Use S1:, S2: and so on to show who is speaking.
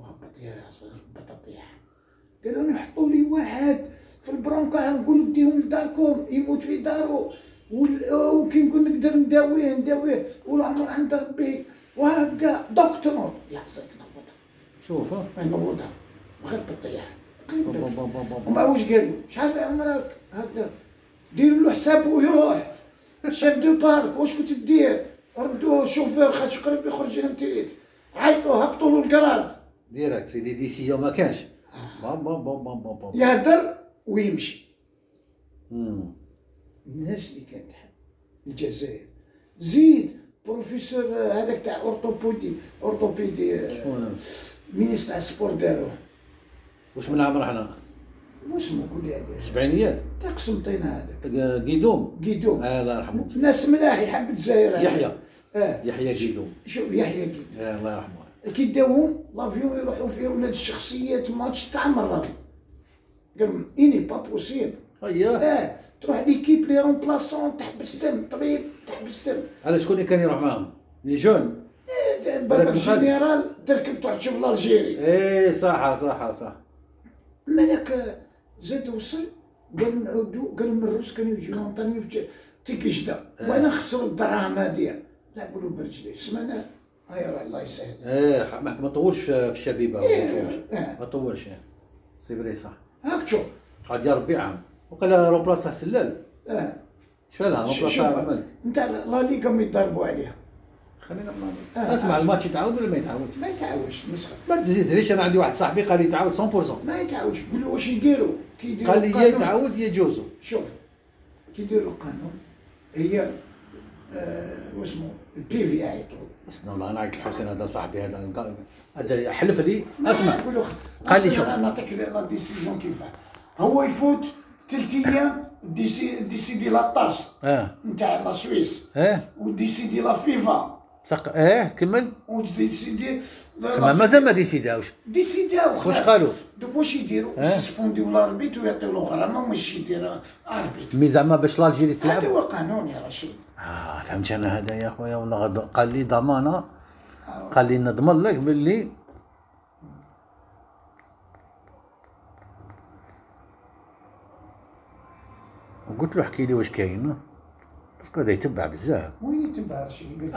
S1: وبطيح بطيح قالوا نحطوا لي واحد في البرونكار نقول ديهم لداركم يموت في دارو وال- وكي نقول نقدر نداويه نداويه والعمر عند ربي وهكذا دكتور يعصيك نوضها
S2: شوف ها.
S1: نوضها غير بطيح
S2: با- با- با- با- با.
S1: وما واش قالوا شحال في عمرك هكذا ديروا له حساب ويروح شاف دو بارك واش كنت دير ردوه شوفير خاطر قريب يخرج لنا تريت عيطوا هبطوا له الكراد
S2: ديريكت سيدي ديسيون ما كانش
S1: آه.
S2: با با با با با با
S1: يهدر ويمشي
S2: مم.
S1: الناس اللي كانت حد الجزائر زيد بروفيسور آه، هذاك تاع اورتوبيدي اورتوبيدي آه،
S2: شكون هذا؟
S1: مينيس تاع السبور داروه
S2: واش من عمر حنا
S1: واسمو قول لي هذا
S2: السبعينيات
S1: تاع قسنطينه هذاك
S2: آه، قيدوم
S1: قيدوم
S2: آه، الله يرحمه مسكين.
S1: ناس ملاح يحب الجزائر هذا.
S2: يحيى
S1: اه
S2: يحيى قيدوم
S1: شوف يحيى قيدوم
S2: آه، الله يرحمه
S1: كي داوهم لافيون يروحوا فيه ولاد الشخصيات ماتش تاع مرات قال لهم اني با بوسيبل
S2: اييه
S1: اه تروح ليكيب لي رومبلاسون تحبس تم طبيب تحبس تم
S2: على شكون اللي كان يروح معاهم لي جون
S1: بابا الجنرال تركب تروح تشوف الجيري
S2: ايه صح صح صح
S1: اما ذاك زاد وصل قالوا نعودوا قالوا من الروس كانوا يجيو عطاني في ج- تكجده
S2: آه.
S1: وانا نخسروا الدراهم هذه لا قولوا برجلي سمعنا هاي راه الله يسهل
S2: ايه ما ما طولش في الشبيبه ما
S1: إيه،
S2: طولش
S1: إيه.
S2: ما طولش إيه. سي فري صح
S1: هاك شوف
S2: قعد يا ربي عام وقال روبلاص تاع سلال
S1: اه
S2: شفالها
S1: شو-
S2: روبلاص
S1: شوف
S2: تاع الملك
S1: نتاع لا ليغا ما يضربوا عليها
S2: خلينا من
S1: آه،
S2: هذا اسمع
S1: عارف.
S2: الماتش يتعاود ولا ما يتعاودش
S1: ما يتعاوش مسخر
S2: ما تزيد ليش انا عندي واحد صاحبي قال لي يتعاود 100%
S1: ما يتعاوش قول له واش يديروا كي يديروا
S2: قال لي يا
S1: القانون-
S2: يتعاود يا جوزو
S1: شوف كي يديروا القانون هي آه واسمو البي في يعيطوا
S2: اسمع الله انا عيط الحسين هذا صاحبي هذا قال- هذا حلف لي اسمع
S1: في الوقت
S2: قال لي شوف.
S1: أنا نعطيك لا ديسيزيون كيفاه هو يفوت ثلاث ايام ديسي- ديسيدي لا طاس
S2: اه
S1: نتاع لا سويس
S2: اه
S1: وديسيدي لا فيفا
S2: صق اه كمل
S1: وديسيدي لا-
S2: اسمع مازال ما ديسيداوش
S1: ديسيداو خلاص.
S2: واش قالوا؟
S1: دوك واش يديروا
S2: آه.
S1: يسبونديو الاربيت ويعطيو له غرامه وماشي يدير اربيت
S2: مي زعما باش الجيري تلعب
S1: هذا هو القانون يا رشيد
S2: اه فهمت انا هذا يا خويا ولا غد قال لي ضمانه قال لي نضمن لك باللي قلت له احكي لي واش كاين باسكو هذا يتبع بزاف
S1: وين يتبع رشيد